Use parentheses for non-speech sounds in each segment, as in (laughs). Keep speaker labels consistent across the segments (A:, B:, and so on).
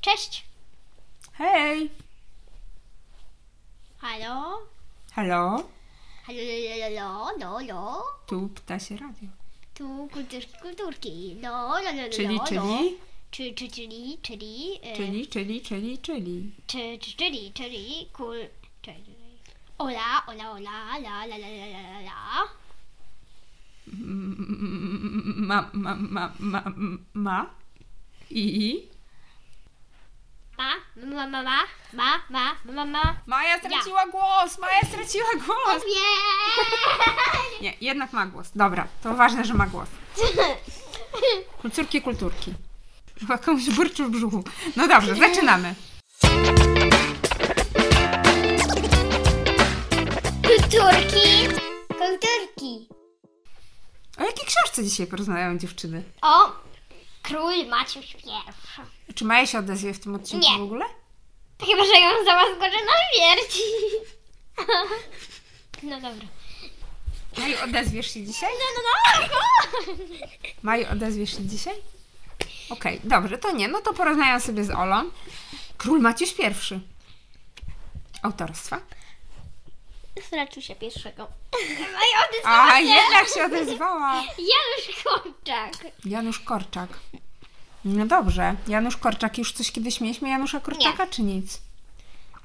A: Cześć!
B: Hej!
A: Halo?
B: Halo?
A: Halo, lo, lo, lo, lo.
B: Tu Ptasie Radio.
A: Tu kulturki, kulturki. Lo, lo, lo, lo,
B: Czyli,
A: lo.
B: czyli,
A: Czy, czy, czyli, czyli, e,
B: czyli, czyli, czyli, czyli.
A: czy, czy, czyli, czyli, kul... Czyli. Ola, ola, ola, la, la, la, la, la, la, la.
B: Mm, Ma, ma, ma, ma, ma. I, i.
A: Ma, ma, ma, ma, ma, ma, ma, ma, ma.
B: Maja straciła głos! Maja straciła głos!
A: Nie!
B: Nie, jednak ma głos. Dobra, to ważne, że ma głos. Kulturki, kulturki. Chyba komuś burczy w brzuchu. No dobrze, zaczynamy.
A: Kulturki! Kulturki!
B: O jakiej książce dzisiaj porozmawiają dziewczyny?
A: O! Król Maciuś pierwszy.
B: Czy Maja się odezwie w tym odcinku
A: Nie.
B: w ogóle?
A: Tak Chyba, że ją zamaskoczę na śmierć. No dobra.
B: Maju, odezwiesz się dzisiaj?
A: No, no, no!
B: Maju, odezwiesz się dzisiaj? Okej, dobrze, to nie, no to porozmawiam sobie z Olą. Król Maciuś I. Autorstwa.
A: Stracił się pierwszego. No i odezwała
B: A,
A: się.
B: jednak się odezwała.
A: Janusz Korczak.
B: Janusz Korczak. No dobrze, Janusz Korczak, już coś kiedyś mieliśmy Janusza Korczaka, czy nic?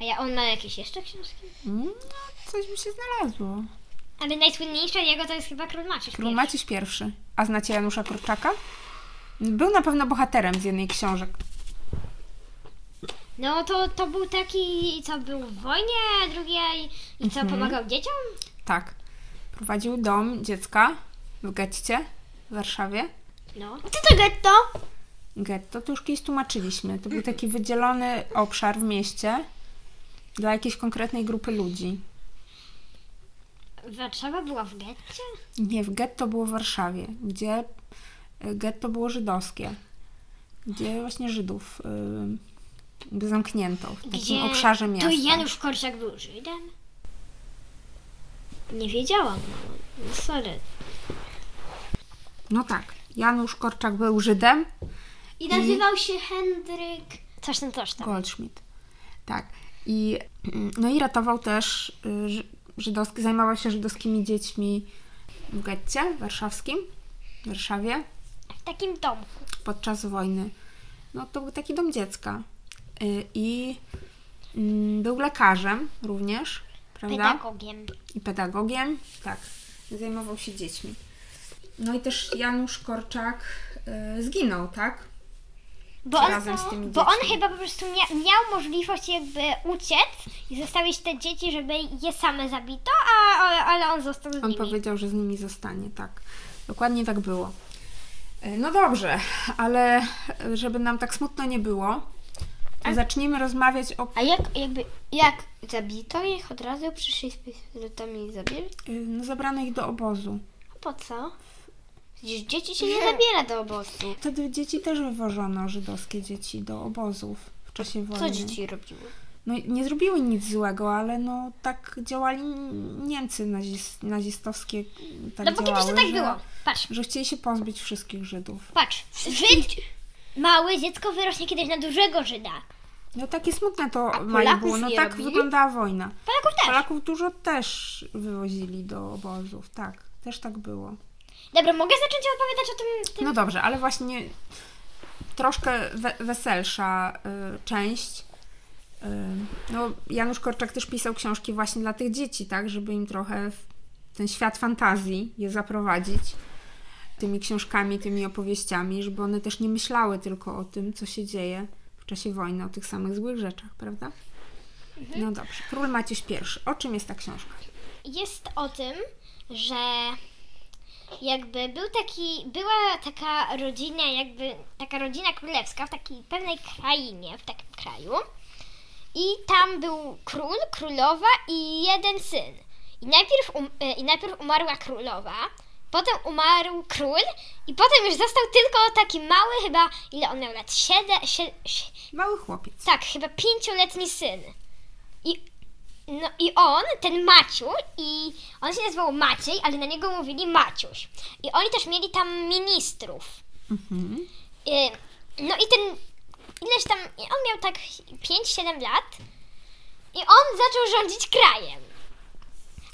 A: A ja, on ma jakieś jeszcze książki?
B: Mm, No, coś mi się znalazło.
A: Ale najsłynniejsza jego to jest chyba Król Maciuś.
B: Król
A: pierwszy.
B: Maciuś I. A znacie Janusza Korczaka? Był na pewno bohaterem z jednej książek.
A: No to, to był taki, co był w wojnie drugiej i
B: Mhm.
A: co pomagał dzieciom?
B: Tak. Prowadził dom dziecka w getcie w Warszawie.
A: No. Co to getto?
B: Getto to już kiedyś tłumaczyliśmy. To był taki wydzielony obszar w mieście dla jakiejś konkretnej grupy ludzi.
A: Warszawa była w getcie?
B: Nie, w getto było w Warszawie, gdzie y, getto było żydowskie, gdzie właśnie Żydów y, zamknięto w takim
A: Gdzie
B: obszarze miasta.
A: To Janusz Korczak był Żydem? Nie wiedziałam, mamo. No sorry.
B: No tak, Janusz Korczak był Żydem,
C: I
B: Mhm.
C: nazywał się Hendryk.
A: Coś tam, coś tam.
B: Goldschmidt. Tak. I, no i ratował też y, Ży- żydowski, zajmował się żydowskimi dziećmi w getcie warszawskim, w Warszawie.
A: W takim domku.
B: podczas wojny. No to był taki dom dziecka. Y, I mm, był lekarzem również, prawda?
A: Pedagogiem.
B: I pedagogiem, tak. Zajmował się dziećmi. No i też Janusz Korczak y, zginął, tak?
A: Bo
B: Czy
A: on,
B: razem z tymi
A: bo on
B: dziećmi?
A: chyba po prostu mia, miał możliwość jakby uciec i zostawić te dzieci, żeby je same zabito, a, ale, ale on został z
B: On
A: nimi.
B: powiedział, że z nimi zostanie, tak. Dokładnie tak było. Y, No dobrze, ale y, żeby nam tak smutno nie było,
A: Tak.
B: to zacznijmy rozmawiać o
C: A jak jakby jak zabito ich od razu przyszli z pistoletami i zabili?
B: y, no, zabrano ich do obozu.
C: A po co? Przecież dzieci się nie zabiera do obozu.
B: Wtedy dzieci też wywożono, żydowskie dzieci, do obozów w czasie wojny.
C: Co dzieci robiły?
B: No i nie zrobiły nic złego, ale no tak działali Niemcy nazis, nazistowskie. Tak
A: No bo kiedyś to
B: działały,
A: tak
B: że,
A: było. Patrz,
B: Że chcieli się pozbyć wszystkich Żydów.
A: patrz. Żyd, małe dziecko wyrośnie kiedyś na dużego Żyda.
B: No takie smutne to
C: A
B: Maju
C: Polaków
B: było. No
C: nie
B: tak
C: robili?
B: wyglądała wojna.
A: Polaków też.
B: Polaków dużo też wywozili do obozów, tak. Też tak było.
A: Dobra, mogę zacząć opowiadać o tym... tym...
B: No dobrze, ale właśnie troszkę we, weselsza y, część. Y, no, Janusz Korczak też pisał książki właśnie dla tych dzieci, tak, żeby im trochę w ten świat fantazji je zaprowadzić tymi książkami, tymi opowieściami, żeby one też nie myślały tylko o tym, co się dzieje w czasie wojny, o tych samych złych rzeczach, prawda? No dobrze. Król Maciuś I. O czym jest ta książka?
A: jest o tym, że jakby był taki, była taka rodzina, jakby taka rodzina królewska w takiej pewnej krainie, w takim kraju. I tam był król, królowa i jeden syn. I najpierw, um, e, I najpierw umarła królowa, potem umarł król i potem już został tylko taki mały, chyba ile on miał lat? Siedem, sie- sie-
B: Mały chłopiec.
A: tak, chyba pięcioletni syn. I, no, I on, ten Maciu, i on się nazywał Maciej, ale na niego mówili Maciuś. I oni też mieli tam ministrów.
B: Mhm.
A: Y, No i ten ileś tam, i on miał tak 5-7 lat i on zaczął rządzić krajem.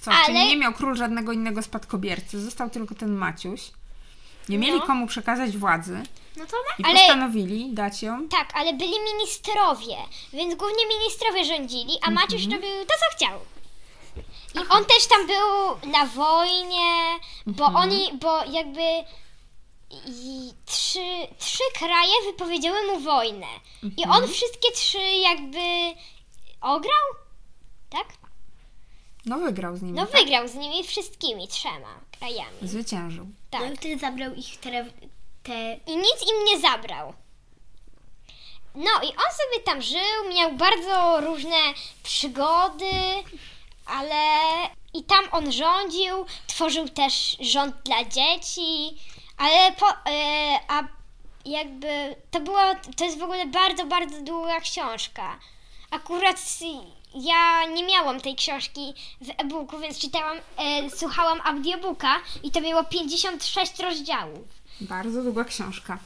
B: Co,
A: Ale-
B: czyli nie miał król żadnego innego spadkobiercy, został tylko ten Maciuś. Nie mieli
A: No.
B: komu przekazać władzy
C: No to
B: i
A: Ale-
B: postanowili dać ją.
A: Tak, ale byli ministrowie, więc głównie ministrowie rządzili, a Maciuś robił to, co chciał. I on też tam był na wojnie, bo oni, bo jakby i trzy, trzy kraje wypowiedziały mu wojnę. I on wszystkie trzy jakby ograł, tak?
B: No wygrał z nimi.
A: No
B: tak?
A: wygrał z nimi wszystkimi trzema krajami.
B: Zwyciężył.
A: Tak.
C: tak. wtedy zabrał ich te, te...
A: i nic im nie zabrał. No i on sobie tam żył, miał bardzo różne przygody, ale i tam on rządził, tworzył też rząd dla dzieci, ale po, e, a jakby to była, to jest w ogóle bardzo, bardzo długa książka. Akurat s- ja nie miałam tej książki w e-booku, więc czytałam, e, słuchałam audiobooka i to miało 56 rozdziałów.
B: Bardzo długa książka.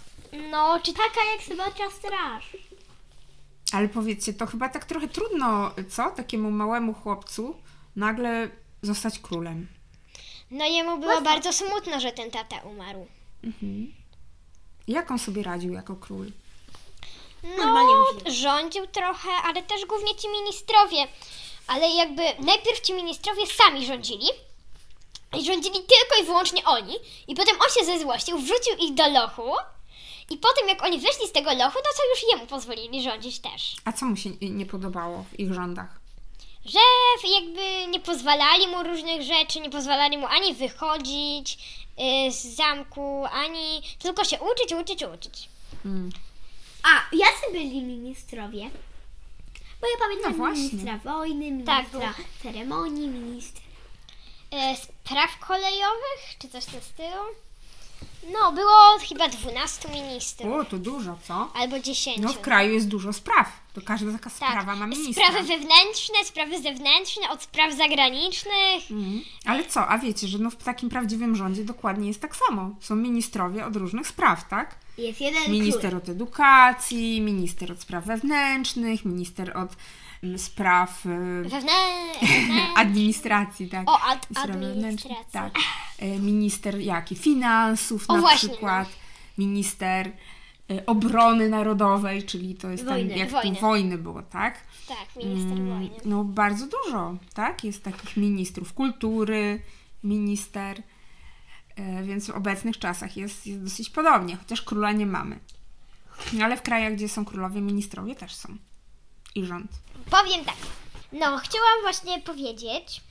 A: No, czy taka jak
C: Zobaczyła straż.
B: Ale powiedzcie, to chyba tak trochę trudno, co? Takiemu małemu chłopcu nagle zostać królem.
A: No jemu było bardzo smutno, że ten tata umarł.
B: Jak on sobie radził jako król?
A: No,
C: Normalnie mówił.
A: rządził trochę, ale też głównie ci ministrowie. Ale jakby najpierw ci ministrowie sami rządzili. I rządzili tylko i wyłącznie oni. I potem on się zezłościł, wrzucił ich do lochu. I potem jak oni wyszli z tego lochu, no to co już jemu pozwolili rządzić też.
B: A co mu się nie- nie podobało w ich rządach?
A: Że jakby nie pozwalali mu różnych rzeczy, nie pozwalali mu ani wychodzić y, z zamku, ani tylko się uczyć, uczyć, uczyć.
B: Mm.
C: A, jacy byli ministrowie? Bo ja pamiętam
B: No właśnie.
C: ministra wojny,
A: Tak,
C: ministra ceremonii, ministra...
A: e, spraw kolejowych, czy coś w tym stylu. No, było chyba 12 ministrów,
B: O, to dużo, co?
A: albo 10.
B: No w kraju jest dużo spraw. To każda taka
A: tak.
B: sprawa ma ministra.
A: Sprawy wewnętrzne, sprawy zewnętrzne, od spraw zagranicznych.
B: Mhm. Ale co, a wiecie, że no w takim prawdziwym rządzie dokładnie jest tak samo. Są ministrowie od różnych spraw, tak?
C: Jest jeden
B: Minister od edukacji, minister od spraw wewnętrznych, minister od mm, spraw y,
A: Wewnętrzne.
B: (laughs) administracji, tak.
A: O, ad-
B: Minister
A: administracja.
B: wewnętrzny, Tak. E, Minister jaki? Finansów
A: O,
B: na
A: właśnie,
B: przykład. Minister e, obrony narodowej, czyli to jest
C: Wojny.
B: ten, jak
A: Wojny.
B: tu wojny było, tak?
A: Tak, minister
B: Mm,
A: wojny.
B: No bardzo dużo, tak? Jest takich ministrów kultury, minister, e, więc w obecnych czasach jest, jest dosyć podobnie, chociaż króla nie mamy. No, Ale w krajach, gdzie są królowie, ministrowie też są. I rząd.
A: Powiem tak. No, chciałam właśnie powiedzieć,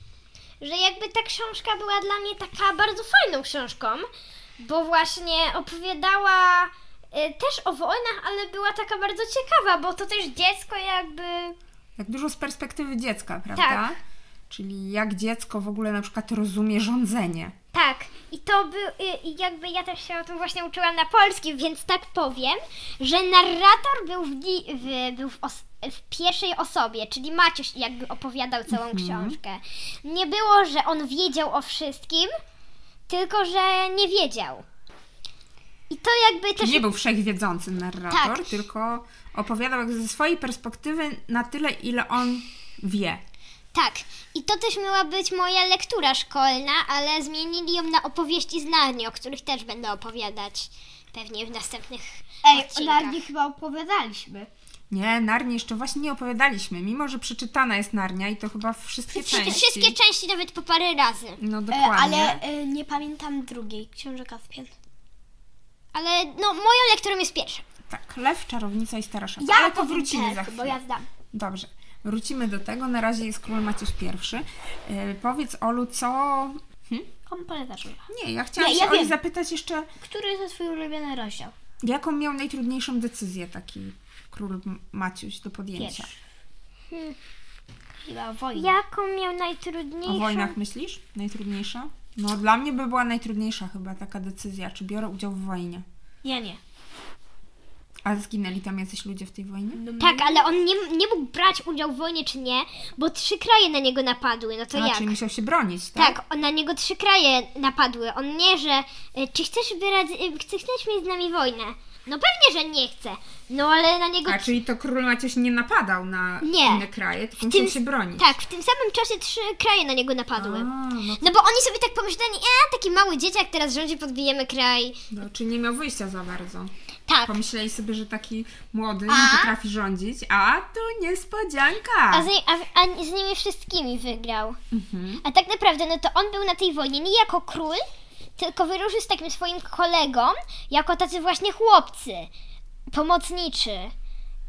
A: że jakby ta książka była dla mnie taka bardzo fajną książką, bo właśnie opowiadała y, też o wojnach, ale była taka bardzo ciekawa, bo to też dziecko jakby.
B: Tak dużo z perspektywy dziecka, prawda?
A: Tak. Czyli jak dziecko w ogóle na przykład rozumie rządzenie. Tak, i to był, y, i jakby ja też się o tym właśnie uczyłam na polskim, więc tak powiem, że narrator był w, ni- w, był w, os, w pierwszej osobie, czyli Maciuś jakby opowiadał całą książkę. Nie było, że on wiedział o wszystkim, tylko że nie wiedział. I to jakby też...
B: Nie był wszechwiedzącym narrator,
A: Tak.
B: tylko opowiadał jak ze swojej perspektywy na tyle, ile on wie.
A: Tak, i to też miała być moja lektura szkolna, ale zmienili ją na opowieści z Narni, o których też będę opowiadać pewnie w następnych
C: Ej,
A: odcinkach.
C: o nie chyba opowiadaliśmy. E,
B: Nie, Narni jeszcze właśnie nie opowiadaliśmy, mimo że przeczytana jest Narnia i to chyba wszystkie części.
A: Wszystkie części nawet po parę razy.
B: No
C: E,
B: dokładnie.
C: ale e, nie pamiętam drugiej, Książę Kaspian.
A: Ale no, moją lekturą jest pierwsza.
B: Tak, Lew, Czarownica i Stara Szata.
C: Ja
B: ale to
C: powiem
B: wrócimy
C: tak,
B: za
C: bo
B: chwilę.
C: ja znam.
B: Dobrze, wrócimy do tego. Na razie jest król Maciuś I. E, powiedz Olu, co... Hm?
C: On poleca szula.
B: Nie, ja chciałam
C: Nie,
B: się
C: ja
B: Oli
C: wiem.
B: zapytać jeszcze,
C: Który jest twój ulubiony rozdział?
B: jaką miał najtrudniejszą decyzję taki król Maciuś do podjęcia.
C: Pierwszy. Chyba wojna.
A: Jaką miał
B: O
A: najtrudniejszą?
B: wojnach myślisz? Najtrudniejsza? No dla mnie by była najtrudniejsza chyba taka decyzja, czy biorę udział w wojnie.
C: Ja nie.
B: A zginęli tam jacyś ludzie w tej wojnie?
A: Tak, ale on nie, nie mógł brać udziału w wojnie czy nie, bo trzy kraje na niego napadły, no to
B: znaczy,
A: jak?
B: musiał się bronić, tak?
A: Tak, on- na niego trzy e, kraje napadły. On nie, że y, czy chcesz, brać, y, czy chcesz mieć z nami wojnę? No pewnie, że nie chce. No ale na niego
B: A czyli to król Maciuś nie napadał na
A: Nie.
B: inne kraje, tylko
A: tym-
B: musiał się bronić.
A: Tak, w tym samym czasie trzy kraje na niego
B: A,
A: napadły.
B: no,
A: No bo oni sobie tak pomyśleli, e, taki mały dzieciak teraz rządzi, podbijemy kraj.
B: no, czyli nie miał wyjścia za bardzo.
A: Tak.
B: Pomyśleli sobie, że taki młody
A: A?
B: nie potrafi rządzić, a tu niespodzianka.
A: A z, ni- a, a z nimi wszystkimi wygrał.
B: Mhm.
A: A tak naprawdę, no to on był na tej wojnie nie jako król, tylko wyruszył z takim swoim kolegą, jako tacy właśnie chłopcy, pomocniczy.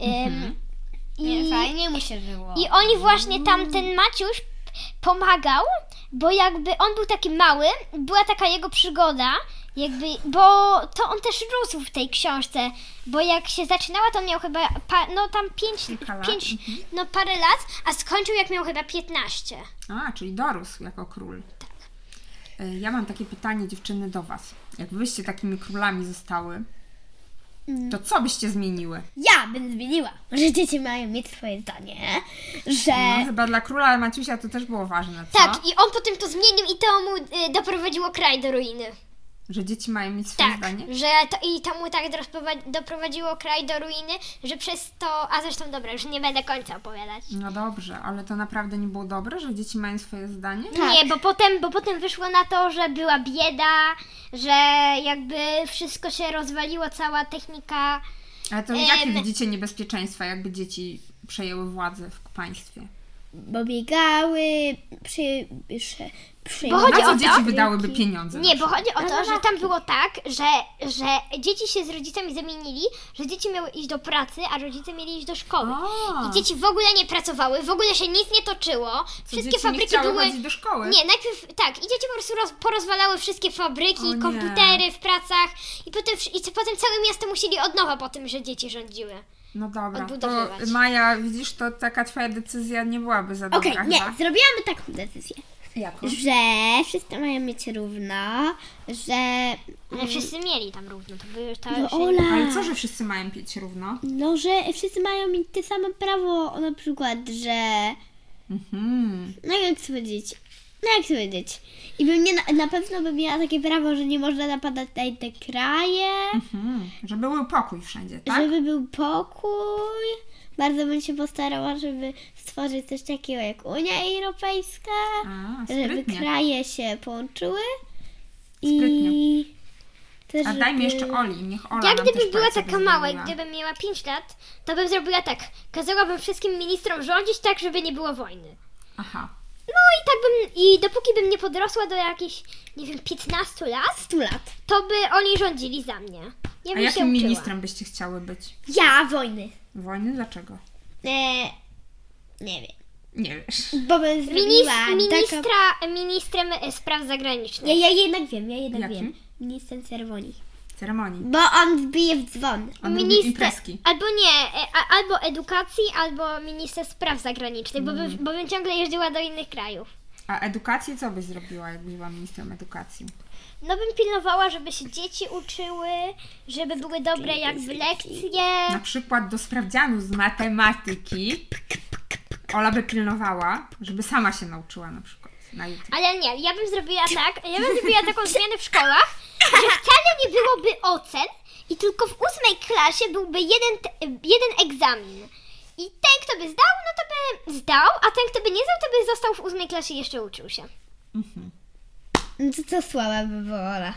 A: Ym,
C: Mhm. Nie, fajnie mu się żyło.
A: I oni właśnie tam, ten Maciuś pomagał, bo jakby on był taki mały, była taka jego przygoda, jakby, bo to on też rósł w tej książce, bo jak się zaczynała, to on miał chyba, pa, no tam pięć,
B: Kilka lat,
A: pięć
C: mhm.
A: no parę lat, a skończył jak miał chyba 15.
B: A, czyli dorósł jako król. Tak. Ja mam takie pytanie, dziewczyny, do Was. Jakbyście takimi królami zostały,
A: Mm.
B: to co byście zmieniły? No,
C: Ja bym zmieniła, że dzieci mają mieć swoje zdanie, że...
B: No, chyba dla króla Maciusia to też było ważne, co?
A: E. Tak, i on potem to zmienił i to mu y, doprowadziło kraj do ruiny.
B: Że dzieci mają mieć swoje
A: Tak,
B: zdanie?
A: że to, i to mu tak rozprowa- doprowadziło kraj do ruiny, że przez to, a zresztą dobra, już nie będę końca opowiadać.
B: No dobrze, ale to naprawdę nie było dobre, że dzieci mają swoje zdanie?
C: Tak.
A: Nie, bo potem, bo potem wyszło na to, że była bieda, że jakby wszystko się rozwaliło, cała technika.
B: Ale to jakie
A: Em.
B: widzicie niebezpieczeństwa, jakby dzieci przejęły władzę w państwie?
C: Bo biegały, przy... przy, przy
A: Bo chodzi
B: Na
A: o
B: co
A: to?
B: dzieci wydałyby pieniądze?
A: Nie, bo chodzi o to,
C: no,
A: że tam było tak, że, że dzieci się z rodzicami zamienili, że dzieci miały iść do pracy, a rodzice mieli iść do szkoły.
B: O,
A: I dzieci w ogóle nie pracowały, w ogóle się nic nie toczyło.
B: co,
A: Wszystkie
B: dzieci
A: fabryki
B: nie chciały
A: były.
B: chodzić do szkoły.
A: Nie, najpierw tak, i dzieci po prostu roz, porozwalały wszystkie fabryki,
B: O nie.
A: komputery w pracach i potem, wsz- i potem całe miasto musieli od nowa po tym, że dzieci rządziły.
B: No dobra, to
A: Odbudowywać.
B: Maja, widzisz, to taka twoja decyzja nie byłaby za dobra
C: Okej, nie,
B: chyba.
C: zrobiłam taką decyzję,
B: Jako?
C: że wszyscy mają mieć równo, że...
A: Ale
B: Mm.
A: wszyscy mieli tam równo, to były już to
C: No
A: już
C: Ola!
B: Ale co, że wszyscy mają pić równo?
C: No, że wszyscy mają mieć te same prawo, na przykład, że...
B: Mhm.
C: No jak to powiedzieć? No jak to powiedzieć? I bym nie, na, na pewno bym miała takie prawo, że nie można napadać na inne kraje,
B: Mhm. Że był pokój wszędzie, tak?
C: żeby był pokój. Bardzo bym się postarała, żeby stworzyć coś takiego jak Unia Europejska,
B: A,
C: żeby
B: sprytnie.
C: kraje się połączyły.
B: Sprytnie.
C: I też,
B: A dajmy
C: żeby-
B: jeszcze Oli, niech Ola
A: Ja
B: nam
A: gdybym
B: też
A: była
B: powie, co by
A: taka mała i
B: zrobiła.
A: gdybym miała 5 lat, to bym zrobiła tak. Kazałabym wszystkim ministrom rządzić tak, żeby nie było wojny.
B: Aha.
A: No i tak bym, i dopóki bym nie podrosła do jakichś, nie wiem, 15 lat,
C: 100 lat.
A: to by oni rządzili za mnie. Ja
B: A
A: bym się
B: jakim
A: uczyła.
B: ministrem byście chciały być?
C: Ja wojny.
B: Wojny? Dlaczego?
C: E, nie wiem.
B: Nie wiesz.
C: Bo bym
A: Minis,
C: zrobiła taką...
A: ministra, Ministrem e, spraw zagranicznych.
C: Ja, ja jednak wiem, ja jednak
B: Jakim?
C: wiem. Ministrem Cerwoni.
B: Ceremonii.
C: Bo on wbije w dzwon.
B: On lubi
A: Minister,
B: imprezki.
A: albo nie, e, a, albo edukacji, albo minister spraw zagranicznych, bo bym, bo bym ciągle jeździła do innych krajów.
B: A edukację co byś zrobiła, jakbyś była ministrem edukacji?
A: No bym pilnowała, żeby się dzieci uczyły, żeby były dobre jakby lekcje.
B: Na przykład do sprawdzianu z matematyki Ola by pilnowała, żeby sama się nauczyła na przykład na jutro.
A: Ale nie, ja bym zrobiła tak, ja bym zrobiła taką zmianę w szkołach, że wcale nie byłoby ocen i tylko w ósmej klasie byłby jeden, te- jeden egzamin. I ten, kto by zdał, no to by zdał, a ten, kto by nie zdał, to by został w ósmej klasie i jeszcze uczył się.
C: No to co słaba by była Ola.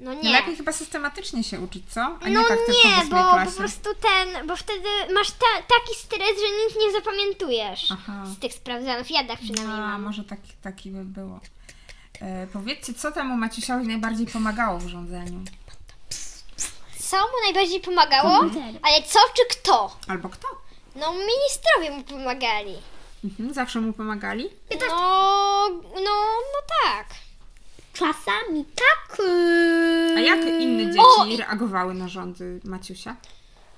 A: No nie.
B: Nie. Lepiej chyba systematycznie się uczyć, co? A
A: No
B: tak tylko w
A: nie,
B: ósmej
A: bo
B: klasie.
A: po prostu ten, bo wtedy masz ta, taki stres, że nic nie zapamiętujesz
B: Aha.
A: z tych sprawdzianów. Ja tak przynajmniej
B: A,
A: mam.
B: może taki, taki by było. E, powiedzcie, co temu Maciusiowi najbardziej pomagało w rządzeniu?
A: Co mu najbardziej pomagało?
C: Komputer.
A: Ale co czy kto?
B: Albo kto?
A: No ministrowie mu pomagali.
B: Mhm, zawsze mu pomagali?
A: No, no, no tak.
C: Czasami tak. yy,
B: A jak inne
A: O,
B: dzieci reagowały na rządy Maciusia?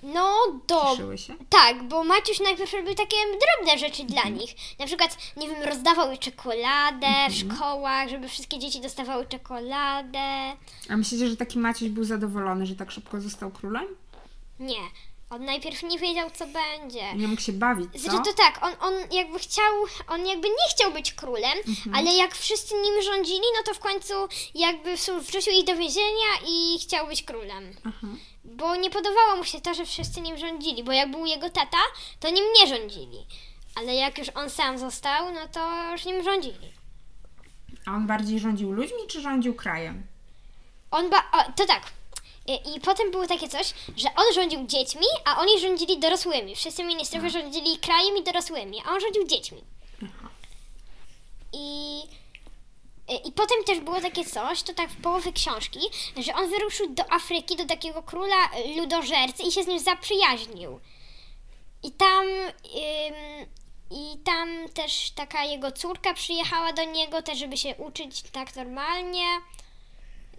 A: No dobrze.
B: Cieszyły się?
A: Tak, bo Maciuś najpierw robił takie drobne rzeczy dla
B: Mhm.
A: nich. Na przykład, nie wiem, rozdawał czekoladę w
B: Mhm.
A: szkołach, żeby wszystkie dzieci dostawały czekoladę.
B: A myślicie, że taki Maciuś był zadowolony, że tak szybko został królem?
A: Nie, on najpierw nie wiedział, co będzie.
B: Nie mógł się bawić, co?
A: Tak. Znaczy to tak, on, on jakby chciał, on jakby nie chciał być królem, ale jak wszyscy nim rządzili, no to w końcu jakby w- wrzucił ich do więzienia i chciał być królem.
B: Aha.
A: bo nie podobało mu się to, że wszyscy nim rządzili, bo jak był jego tata, to nim nie rządzili. Ale jak już on sam został, no to już nim rządzili.
B: A on bardziej rządził ludźmi, czy rządził krajem?
A: On ba- o, to tak. I, I potem było takie coś, że on rządził dziećmi, a oni rządzili dorosłymi. Wszyscy ministrowie rządzili krajem i dorosłymi, a on rządził dziećmi. I, I potem też było takie coś, to tak w połowie książki, że on wyruszył do Afryki, do takiego króla y, ludożercy i się z nim zaprzyjaźnił. I tam, ym, i tam też taka jego córka przyjechała do niego, też żeby się uczyć tak normalnie.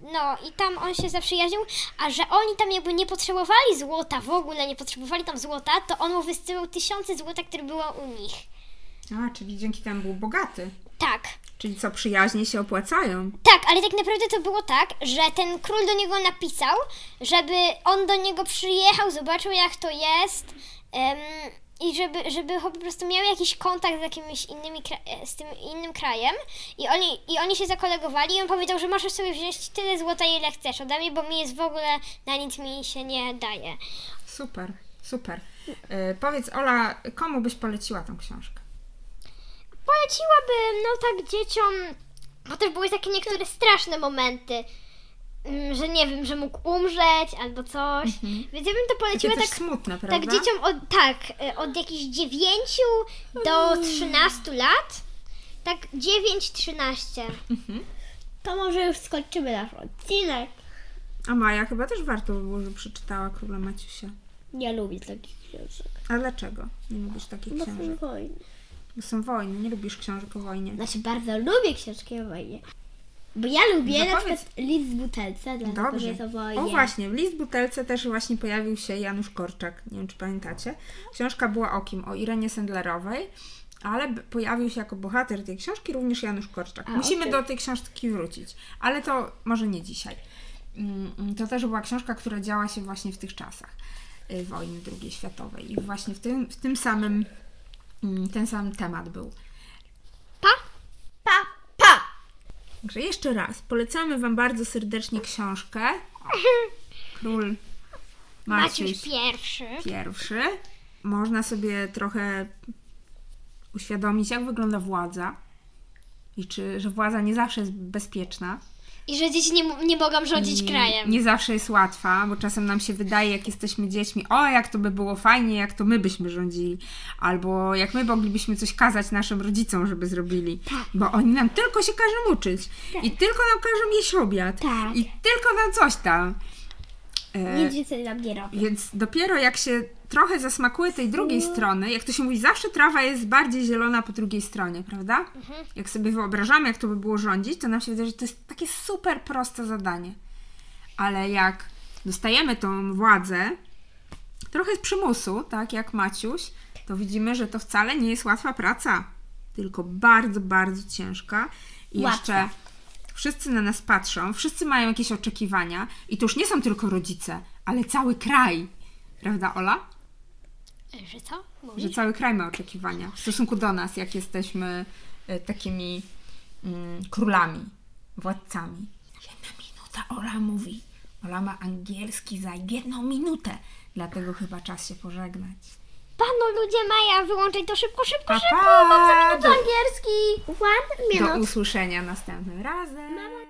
A: No i tam on się zaprzyjaźnił, a że oni tam jakby nie potrzebowali złota, w ogóle nie potrzebowali tam złota, to on mu wysyłał tysiące złota, które było u nich.
B: A, czyli dzięki temu był bogaty.
A: Tak.
B: Czyli co, przyjaźnie się opłacają?
A: Tak, ale tak naprawdę to było tak, że ten król do niego napisał, żeby on do niego przyjechał, zobaczył jak to jest em, i żeby, żeby po prostu miał jakiś kontakt z jakimś innymi, kra- e, z tym innym krajem i oni, i oni się zakolegowali i on powiedział, że możesz sobie wziąć tyle złota ile chcesz ode mnie, bo mi jest w ogóle na nic mi się nie daje.
B: Super, super. E, powiedz, Ola, komu byś poleciła tą książkę?
A: poleciłabym, no tak dzieciom, bo też były takie niektóre straszne momenty, mm, że nie wiem, że mógł umrzeć albo coś, więc ja bym to
B: Mhm. Takie
A: poleciła
B: też
A: tak,
B: smutne, no. prawda?
A: tak dzieciom od, tak, y, od jakichś 9 do 13 lat, tak 9-13.
C: To może już skończymy nasz odcinek.
B: A Maja chyba też warto by było, że przeczytała Króla Maciusia.
C: Nie lubię takich książek.
B: A dlaczego nie lubisz takich
C: Bo są
B: książek?
C: wojny.
B: Bo są wojny, nie lubisz książek o wojnie.
C: Znaczy bardzo lubię książki o wojnie. Bo ja lubię
B: No
C: na
B: powiedz.
C: przykład list z butelce, dlatego że
B: Dobrze.
C: jest o wojnie.
B: O właśnie, w List Butelce też właśnie pojawił się Janusz Korczak, nie wiem czy pamiętacie. Książka była o kim? O Irenie Sendlerowej, ale b- pojawił się jako bohater tej książki również Janusz Korczak.
C: A,
B: Musimy
C: okej.
B: do tej książki wrócić, ale to może nie dzisiaj. Mm, mm, To też była książka, która działa się właśnie w tych czasach y, wojny II światowej i właśnie w tym, w tym samym, mm, ten sam temat był.
C: Pa, pa!
B: Także jeszcze raz, polecamy Wam bardzo serdecznie książkę Król
A: Maciuś
B: Maciuś
A: pierwszy.
B: pierwszy. Można sobie trochę uświadomić, jak wygląda władza i czy, że władza nie zawsze jest bezpieczna.
A: I że dzieci nie, m- nie mogą rządzić
B: I
A: krajem.
B: Mm, Nie zawsze jest łatwa, bo czasem nam się wydaje, jak jesteśmy dziećmi, o jak to by było fajnie, jak to my byśmy rządzili, albo jak my moglibyśmy coś kazać naszym rodzicom, żeby zrobili,
C: Tak.
B: bo oni nam tylko się każą uczyć i tylko nam każą jeść obiad
C: Tak.
B: i tylko nam coś tam. E,
C: Nic więcej nam nie robi.
B: więc dopiero jak się trochę zasmakuje tej drugiej strony, jak to się mówi, zawsze trawa jest bardziej zielona po drugiej stronie, prawda? Jak sobie wyobrażamy, jak to by było rządzić, to nam się wydaje, że to jest takie super proste zadanie. Ale jak dostajemy tą władzę, trochę z przymusu, tak jak Maciuś, to widzimy, że to wcale nie jest łatwa praca, tylko bardzo, bardzo ciężka. I
C: Łatwa.
B: jeszcze wszyscy na nas patrzą, wszyscy mają jakieś oczekiwania i to już nie są tylko rodzice, ale cały kraj. Prawda, Ola?
A: E, Że co?
B: Że
A: Mówisz?
B: cały kraj ma oczekiwania w stosunku do nas, jak jesteśmy e, takimi mm, królami, władcami. Jedna minuta, Ola mówi. Ola ma angielski za jedną minutę, dlatego chyba czas się pożegnać.
A: Panu ludzie Maja, wyłączaj to szybko, szybko,
B: Pa,
A: szybko,
B: pa!
A: mam za
B: Do-
A: angielski.
C: One minute.
B: Do usłyszenia następnym razem.